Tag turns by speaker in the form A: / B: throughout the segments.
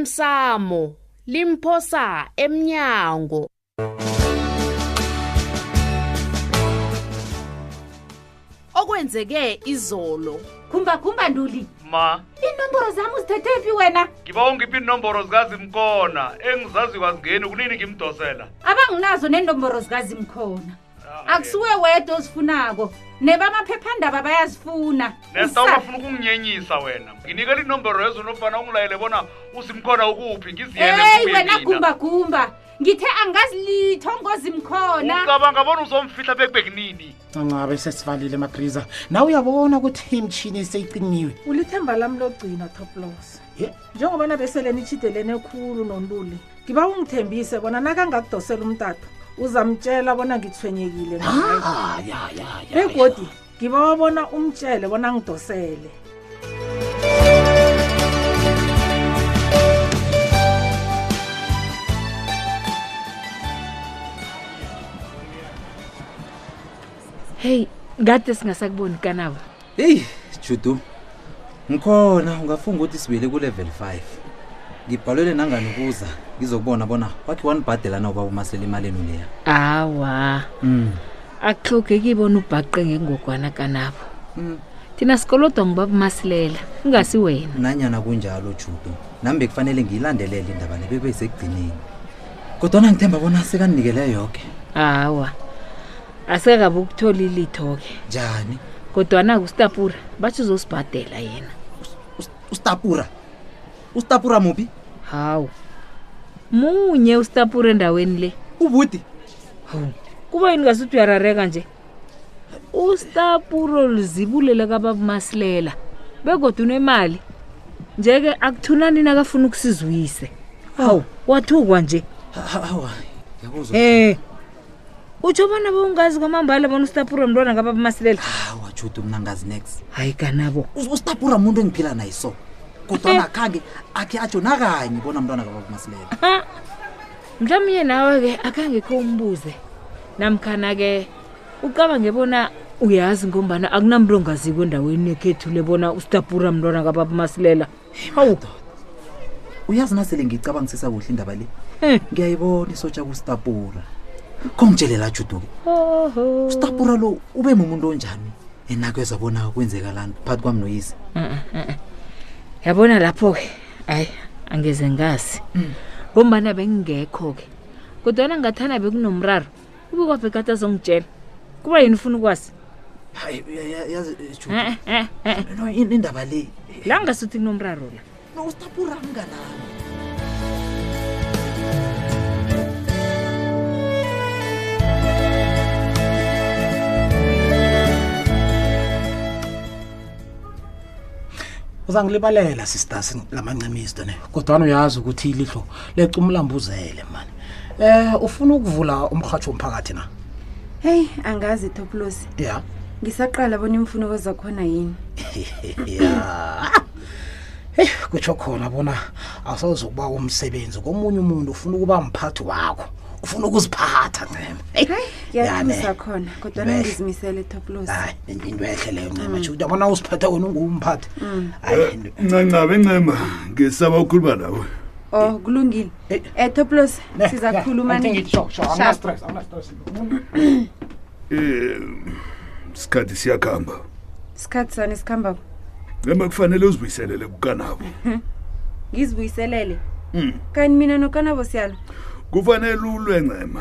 A: osemsamo limphosa emnyango okwenzeke izolo
B: khumba khumba nduli
C: ma
B: inomboro zami uzithethe phi wena
C: ngiba ungiphi inomboro zikazimkona engizazi kwazingeni kunini ngimdosela
B: abanginazo nenomboro zikazimkhona akusuwe wedwa ozifunako nebamaphephandaba bayazifuna
C: nesta ungafuna ukunginyenyisa wena nginikela inomboro yezonofana ungilayele bona usimkhona ukuphi
B: eyi wena gumbagumba ngithe angazilitho ngozimkhona
C: ngicabanga bona uzomfihla bekunini
D: ancabe sesivalile magriza nawe uyabona ukuthi imtshini seyiqiniwe
E: ulithemba lami logcina toplos
D: Ye.
E: njengoba nabesele nitshidelene khulu nontuli ngiba ungithembise bona nakangakudosela umtato uzamtshela bona ngithwenyekile ngaye. begodi ngiba wabona umtshele bona ngidosele
F: heyi ngade singasakuboni kanabo
G: heyi judu ngikhona ungafunga ukuthi sibuyele ku-level five ngibhalwele nangani ukuza ngizokubona bona wakhe wanibhadelana ubaba umasela imaleni leya
F: hawa akuhlogeki bona ubhaqe ngengogwana kanabo thina sikolodwa ngibabumasilela ingasi wena
G: nanyana kunjalo judu nami bekufanele ngiyilandelele indaba nebebe sekugcineni kodwana ngithemba bona sekanikele yoke
F: hawa asekakabe ukuthola ilitho-ke
G: njani
F: kodwana-ke usitapura batsho uzosibhadela yena
G: usitapura usitapura muphi
F: hawu munye usitapura endaweni le
G: ubudi
F: kuba yini ngasuthi uyarareka nje usitapuro lizibulela kababumasilela begodwa unemali nje-ke akuthunani nakafuna ukusizwise hawu wathukwa nje
G: awa yakuzwa
E: Eh.
F: um utsho bona bewungazi kwamambala bona usitapuro mntwana kababumasilela
G: awa judu mna ngazi next
F: hayi kanabo
G: Us- usitapura muntu engiphila naye so kodwana akhange akhe atsho nakanye bona mntwana kababumasilela
F: mhlawumnye nawe-ke akhangekho umbuze namkhana-ke ucabange bona uyazi ngombana akunamntu ongaziko endaweni ekhethule bona usitapura mntwana kababumasilela hawu
G: uyazi nasele ngiyicabangisisa kuhle indaba le
F: Eh.
G: ngiyayibona isotsha kusitapura khongitshelela juduke
F: Oho.
G: usitapura lo ube mumuntu onjani enakwezwa bona kwenzekalani phakathi kwami noyise
F: Mm, yabona lapho-ke hayi angeze ngazi
G: Mm.
F: ngombana bengingekho-ke kodwana ngathana bekunomraro ube kwabhekati azongitshela kuba yini ufuna ukwazi
G: hayi uya- uya- yazi eh, Judu,
F: Eh, eh, eh.
G: no, in- indaba le eh,
F: la ngasuthi kunomraro la
G: no usitapura mnganami
D: uzangilibalela sisters lamancimisto ne kodwana uyazi ukuthi ilihlo leca umlambuzele mani um ufuna ukuvula umrhatsho womphakathi na
H: heyi angazi toplos
D: ya
H: ngisaqala bona imfuneko zakhona yini
D: ya heyi kutsho khona bona awusazokuba umsebenzi komunye umuntu ufuna ukuba mphathi wakho ufuna ukuziphatha ncema
H: ngiyathusa khona kodwana
D: Behle.
H: ngizimisele toplos
D: hayi into ehle leyo ncema juda bona uziphathe wena unguwumphathi hayi into-
I: ncancabe ncema ngisaba ukukhuluma nawe
H: o Oh, kulungile
D: Eh.
H: um toplos
D: Ne, ne,
H: sizakhuluma
D: I think
H: nini
D: it's sure, sure, I'm
H: Sharp.
D: not stressed, I'm not stressed.
I: um isikhathi siyakuhamba
H: sikhathi sani sikhambako
I: ncema kufanele uzibuyiselele kukanabo
H: ngizibuyiselele kanti mina nokanabo siyalo
I: kufanele ulwe ncema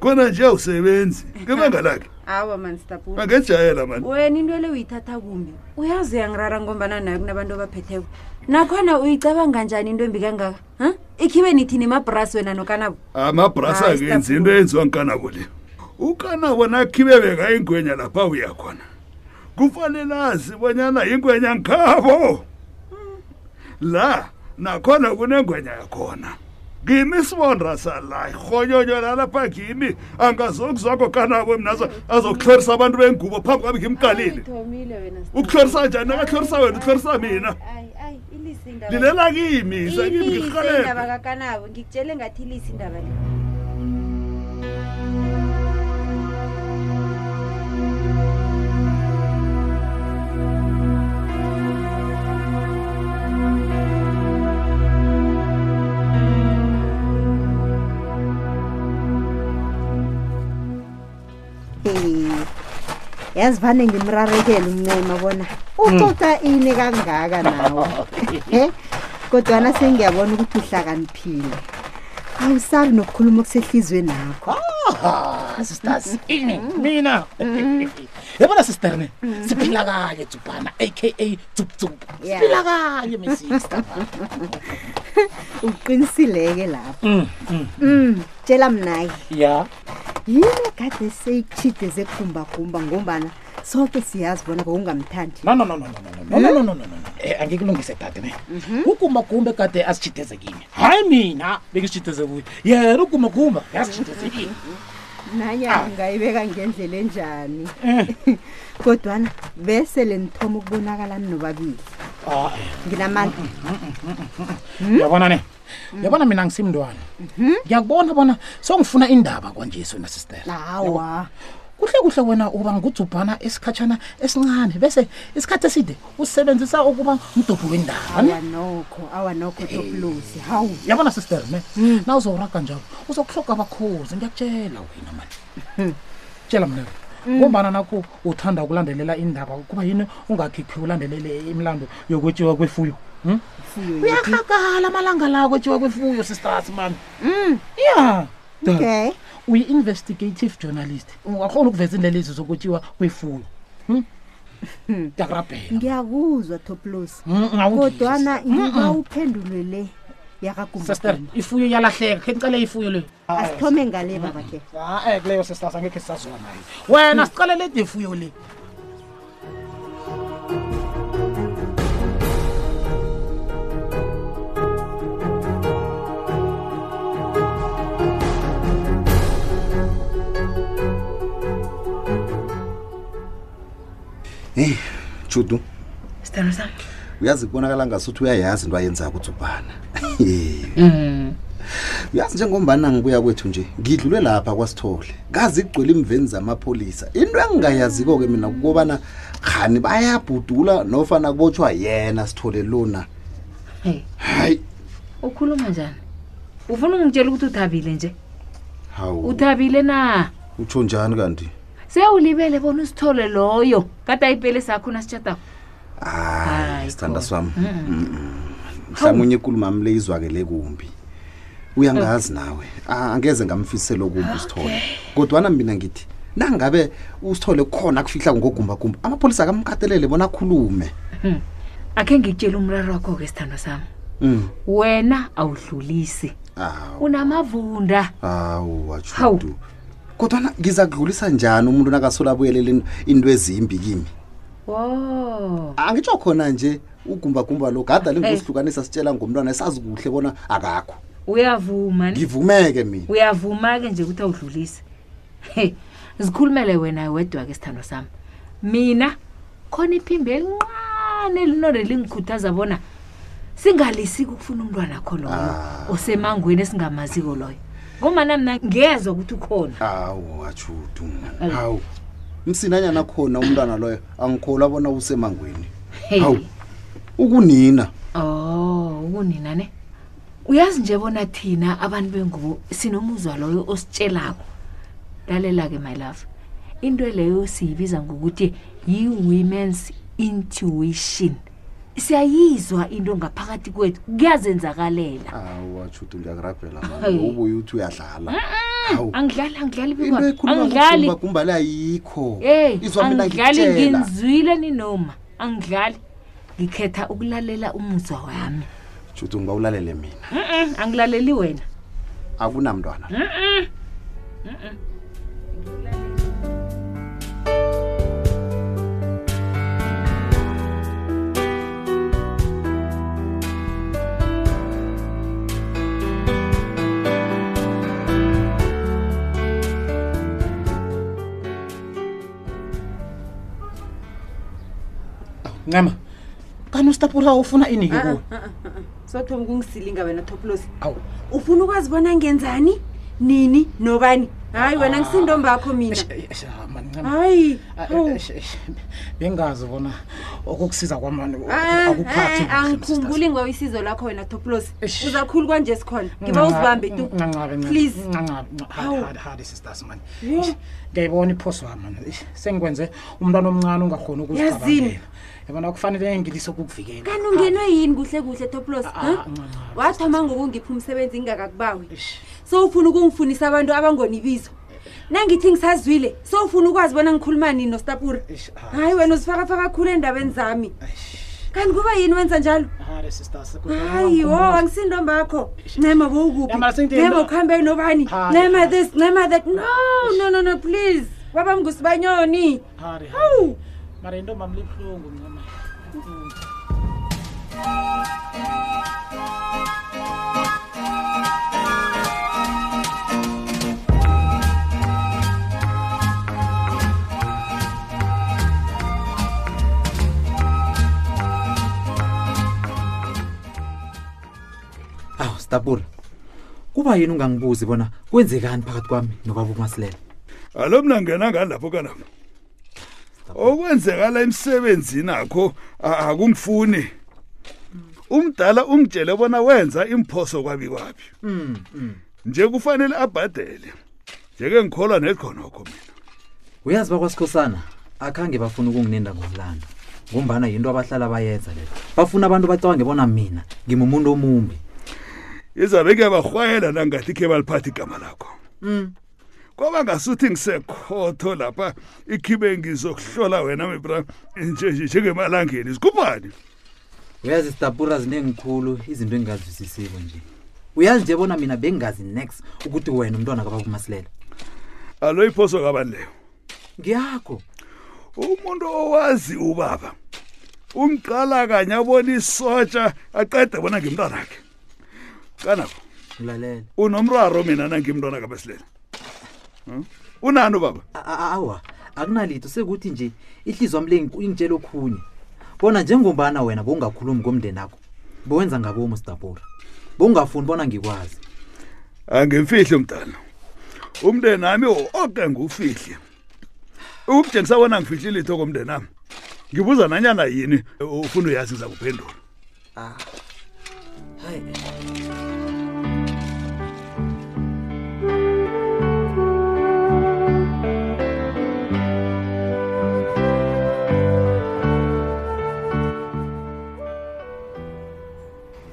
I: khona nje awusebenzi ngebanga lakhe
H: awa mani sitapula
I: angejayela mani
H: wena into le uyithatha kumbi uyazi uyangirara ngombana nayo kunabantu abaphetheko nakhona uyicabanga njani into embi kangaka ha ikhibe nithini mabrasi wena nokanabo
I: amabrasa
H: Hayi,
I: akenzi
H: Stapulu.
I: into eyenziwa nkanabo le ukanabo nakhibe beka ingwenya lapha uya khona kufanele azi bonyana ingwenya ngikhabo la nakhona kunengwenya yakhona ngimi isibondra sala irhonyonyo lalapha ngimi angazokuzwakho kanabo mna azo- azokuhlorisa abantu bengubo phambi kwami ngimqalile
H: thomile wena
I: ukuhlorisa njani nakahlorisa wena uhlorisa mina
H: ayi ayi ilise indaba
I: lilela kimi sekimi
H: ilise
I: ngirhalebe
H: indaba kakanabo ngikutshele ngathi ilise indaba le
J: yazi vane ngimrarekele umncema bona ucoca ini kangaka nawe e kodwana sengiyabona ukuthi uhlakaniphile awusali nokukhuluma okusehlizweni nakho
D: sisters ini mina yabona sisterne siphila kanye tsubhana aka tsuptsup
J: Yeah.
D: siphila kanye misista
J: uqinisile-ke lapho
D: Mm, mm.
J: um tshela mnaye
D: ya
J: yini kade seyitshideze gumbagumba ngombana soke siyazi bona bewungamthandi
D: no no no no no no no no no no no Eh, angikulungise dade ne ukumagumba kade asitshideze kinye hayi mina bekisitshideze kuye yena ugumagumba yasitshideze kinye
J: nanyana ungayibeka ngendlela enjani kodwana besele nithoma ukubonakala ninobabili
D: Ah,
J: nginamandla
D: uyabona ne uyabona mina ngisimntwana ngiyakubona bona songifuna indaba kwanje wena sister
J: awa
D: kuhle kuhle wena uba ngujubhana isikhatshana esincane bese isikhathi eside usebenzisa ukuba mdobho wendaba ne?
J: awa nokho awa nokho toplosi hawu
D: yabona sister ne
J: Hmm.
D: na uzowuraga njalo uzokuhloga abakhozi ngiyakutshela wena mani
J: Hmm.
D: tshela mna ngombana nakho uthanda ukulandelela indaba kuba yini ungakhiphi ulandelele imilando yokwetshiwa kwefuyo Hmm?
J: fuyo yethu
D: uyakhakala amalanga la kwetshiwa kwefuyo sisters mani ya Dad,
J: Hmm. okay
D: uyi-investigative journalist ungakhona ukuveza indlelezi zokutshiwa kwefuyo Hmm? ndakurabhela
J: ngiyakuzwa toplosi
D: Mm, awungizwe,
J: kodwana
D: sister. Mm,
J: ngiba
D: mm.
J: uphendulwe le
D: sister
J: yakagumbagumba
D: ifuyo iyalahleka khe ngicale ifuyo leyo
J: Ah, eh.
D: Hmm.
J: asithome ngale babakhe
D: Ah, eh, kuleyo sisters angekhe sisaziwa nayo
J: Hmm.
D: wena siqalele de fuyo le
G: heyi judu
H: sithando sakhe
G: uyazi kubonakala ngasuthi uyayazi into ayenzako utsubhana uyazi njengombana ngibuya kwethu nje ngidlule lapha kwasithole kazi kugcwele imveni zamapholisa into engingayaziko-ke mina kukobana khani bayabhudula nofana kubotshwa yena sithole lona hayi
H: ukhuluma njani ufuna ungitshela ukuthi uthabile nje
G: hawu
H: uthabile na
G: utsho njani kanti
H: sewulibele bona usithole loyo kade ayipele sakho nasitshatako
G: hayi sithanda sami
H: Hawu.
G: mhlawumunye ikulumami le izwakele kumbi uyangazi
H: Oh.
G: nawe Ah, angeze ngamfisela okumbi
H: Ah,
G: usithole kodwana mina ngithi nangabe usithole khona kufihla ngogumbagumba amapholisa akamkatelele bona akhulume
H: Hmm. akhe ngikutshela umraro wakho-ke sithando sami
G: Mm.
H: wena awudlulisi
G: Awu,
H: unamavunda
G: awu wajudu kodwana ngiza kudlulisa njani umuntu nakasola abuyelele into ezimbi kimi
H: wo
G: angitsho khona nje ugumbagumba lo gada
H: Hey.
G: lingusihlukanisa sitshela ngomntwana sazi kuhle bona akakho
H: uyavuma ne?
G: ngivumeke mina
H: uyavuma-ke nje ukuthi awudlulise he zikhulumele wena wedwa-ke sithando sami mina khona iphimbo elinqane elinone lingikhuthaza bona singalisiki ukufuna umntwana kho loyo osemangweni esingamaziko loyo ngomana mna ngezwa ukuthi ukhona
G: hawu wajudu hawu msinanyana khona umntwana loyo angikholwa bona usemangweni
H: Hey.
G: hawu ukunina
H: Oh, ukunina ne. Uyazi nje bona thina abantu bengubo sinomuzwa loyo ositshelako. Lalela ke my love. Into leyo siyibiza ngokuthi yi women's intuition. Siyayizwa into ngaphakathi kwethu kuyazenzakalela.
G: hawu wajudu ngiyakurabhela
H: Hey.
G: mani ubuye uthi uyadlala hawu
H: Angidlali angidlali
G: into
H: bikona.
G: ekhuluma
H: Angidlali.
G: ngumba le ayikho
H: Hey,
G: izwa mina
H: angidlali
G: ngikutshela
H: nginzwile ninoma. Angidlali. Ngikhetha ukulalela umuzwa wami.
G: judu ngibawulalele mina
H: Mhm, angilaleli wena.
G: akunamntwana
H: Mhm.
D: ncema kani usitapura ufuna ini
K: Ah,
D: ke kuwe
K: ah, ah, ah, ah. sothoma ukungizilinga wena toplosi
D: Awu.
K: ufuna ukwazi bona ngenzani nini nobani
H: hayi wena ngisintombakho mina
D: ah, hayi eh, bengazi bona okukusiza kwamani
H: Ah,
D: akuphathi
H: eh, angikhumbuli ngiwe isizo lakho wena toplos uzakhulu kwanje sikhona ngiba
D: Ncancabe,
H: uzibambe tu
D: ncancabe, ncancabe,
H: please
D: ncancabe, ncancabe. Hadi,
H: Hawu.
D: hadi, hadi sisters mani
H: Yo.
D: Eish, ngiyayibona iphoso wami mani Eish, sengikwenze umntwana omncane ungakhoni
H: Yazini.
D: ukuzicabangela yabona kufanele ngilise ukukuvikela
H: kanti ungenwe yini kuhle kuhle toplos
D: Ah,
H: wathoma ngokungipha umsebenzi ngingakakubawi sowufuna ukungifunisa abantu abangonibizo nangithi ngisazwile sowufuna ukwazi bona ngikhulumani nostapura
D: ah.
H: hayi wena uzifakafaka khulu endabeni zami kanti kuba yini wenza njalo
D: hadi sisters
H: hayi wo angisintombakho nema bowukuphi
D: Nema, sengithe-
H: nema ukuhambe nobani
D: Hayi,
H: nema this nema that no no no no please wabam ngusibanyoni
D: hadi
H: hawu
D: mara into mami libuhlungu mncama
G: awu stapura kuba yini ungangibuzi bona kwenzekani phakathi kwami nobaba umasilela
I: alo mna ngena ngalapho kalapho okwenzekala emsebenzini akho a- akungifuni umdala umtshele bona wenza imphoso kwabi kwabi nje kufanele abhadele njeke ngikholwa nekhonokho mina
G: uyazi bakwasikhosana akhange bafuna ukunginenda ngomlando ngombana yinto abahlala bayenza leyo bafuna abantu bacabange bona mina ngimumuntu omumbi
I: izabe kuyabarhwayela nangathi khe baliphatha igama lakho kwaba ngasuthi ngisekhotho lapha ikhibe ngizokuhlola wena mebra nje njengemalangeni zikhuphani
G: uyazi stapura zinengikhulu izinto engingazwisisiko nje uyazi nje bona mina bengingazi next ukuthi wena umntwana kababa umasilela
I: alo iphoso kabani leyo
G: ngiyakho
I: umuntu owazi ubaba umqala kanye abona isotsha aqede bona ngimntwanakhe kanabo
G: ngilalela
I: unomraro mina nangimntwana kabasilela unani ubaba
G: A- a- awa akunalitho sekuthi nje ihliziyo wami le ingitshela okhunye bona njengombana wena bowungakhulumi komndeni akho bowenza ngabomo stapura bowungafuni bona ngikwazi
I: angimfihle mntana umndeni nami oke ngufihle ukuthi ngisabona ngifihle litho komndeni nami ngibuza nanyana yini ufuna uyazi ngiza kuphendula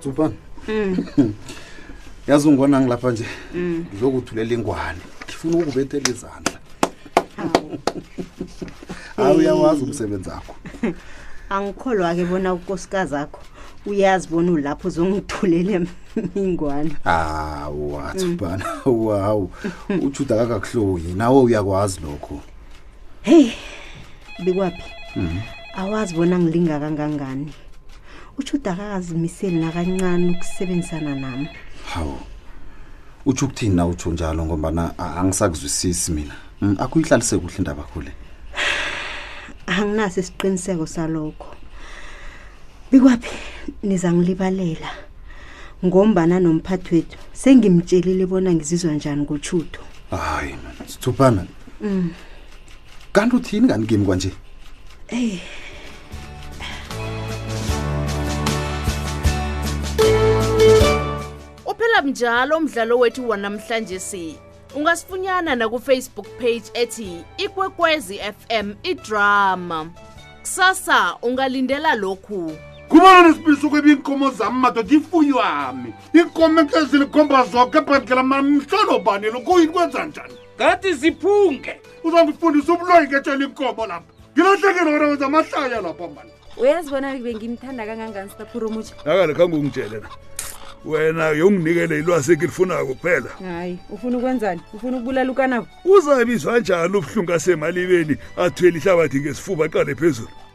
L: tsupana
A: Mm.
L: yazi ungibona ngilapha nje
A: Mm.
L: ngizokuthulela ingwane ngifuna ukubethela izandla hayi uyawazi umsebenzi akho
M: angikholwa-ke bona ukosikazi akho uyazi bona ulapho uzongithulela ingwane
L: hawu atsubhana wawu ujuda kakakuhloyi nawe uyakwazi lokho
M: heyi bikwaphi
L: Mhm.
M: awazi bona ngilinga kangangani utshuda kakazimiseli nakancane ukusebenzisana nami
L: hawu utsho ukuthini na utsho njalo ngombana a- angisakuzwisisi mina Mm, akuyihlalise kuhle indaba khule
M: anginaso isiqiniseko salokho bikwaphi niza ngilibalela ngombana nomphathi wethu sengimtshelile bona ngizizwa njani ngotshutho
L: hayi man sithubhana
M: mm.
L: kanti uthini kanti kimi kwanje
M: eyi
A: uphela mnjalo umdlalo wethu wanamhlanje si ungasifunyana nakufacebook page ethi ikwekwezi fm idrama kusasa ungalindela lokhu
N: kubona nesibisi ukuba iinkomo zam madoda ifuyo yami iinkomo ezilikhomba zoke ebhandlela mam mhlolo bani lokuyini kwenza njani ngathi ziphunge uzangifundisa ubuloyi ngetshela iinkomo lapha ngilahlekelo wena wenza amahlaya lapha mani
H: uyazi bona bengimthanda kangangani staphura omutsha
I: akale khange ungitshele na wena yonginikele ilwasi engilifunako kuphela
H: hayi ufuna ukwenzani ufuna ukubulala ukanabo
I: uzabizwa njani ubuhlungu asemalibeni athwele ihlabathi ngesifuba aqale phezulu